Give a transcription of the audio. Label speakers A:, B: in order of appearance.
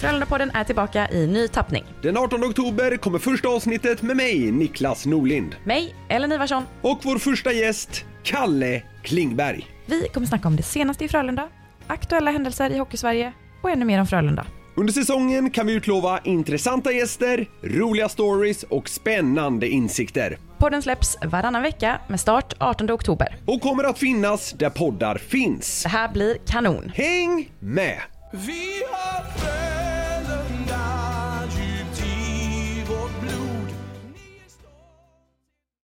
A: Föräldrapodden är tillbaka i ny tappning.
B: Den 18 oktober kommer första avsnittet med mig, Niklas Norlind.
A: Mig, Ellen Ivarsson.
B: Och vår första gäst, Kalle Klingberg.
A: Vi kommer snacka om det senaste i Frölunda, aktuella händelser i Hockeysverige och ännu mer om Frölunda.
B: Under säsongen kan vi utlova intressanta gäster, roliga stories och spännande insikter.
A: Podden släpps varannan vecka med start 18 oktober.
B: Och kommer att finnas där poddar finns.
A: Det här blir kanon.
B: Häng med!
C: Vi har er frö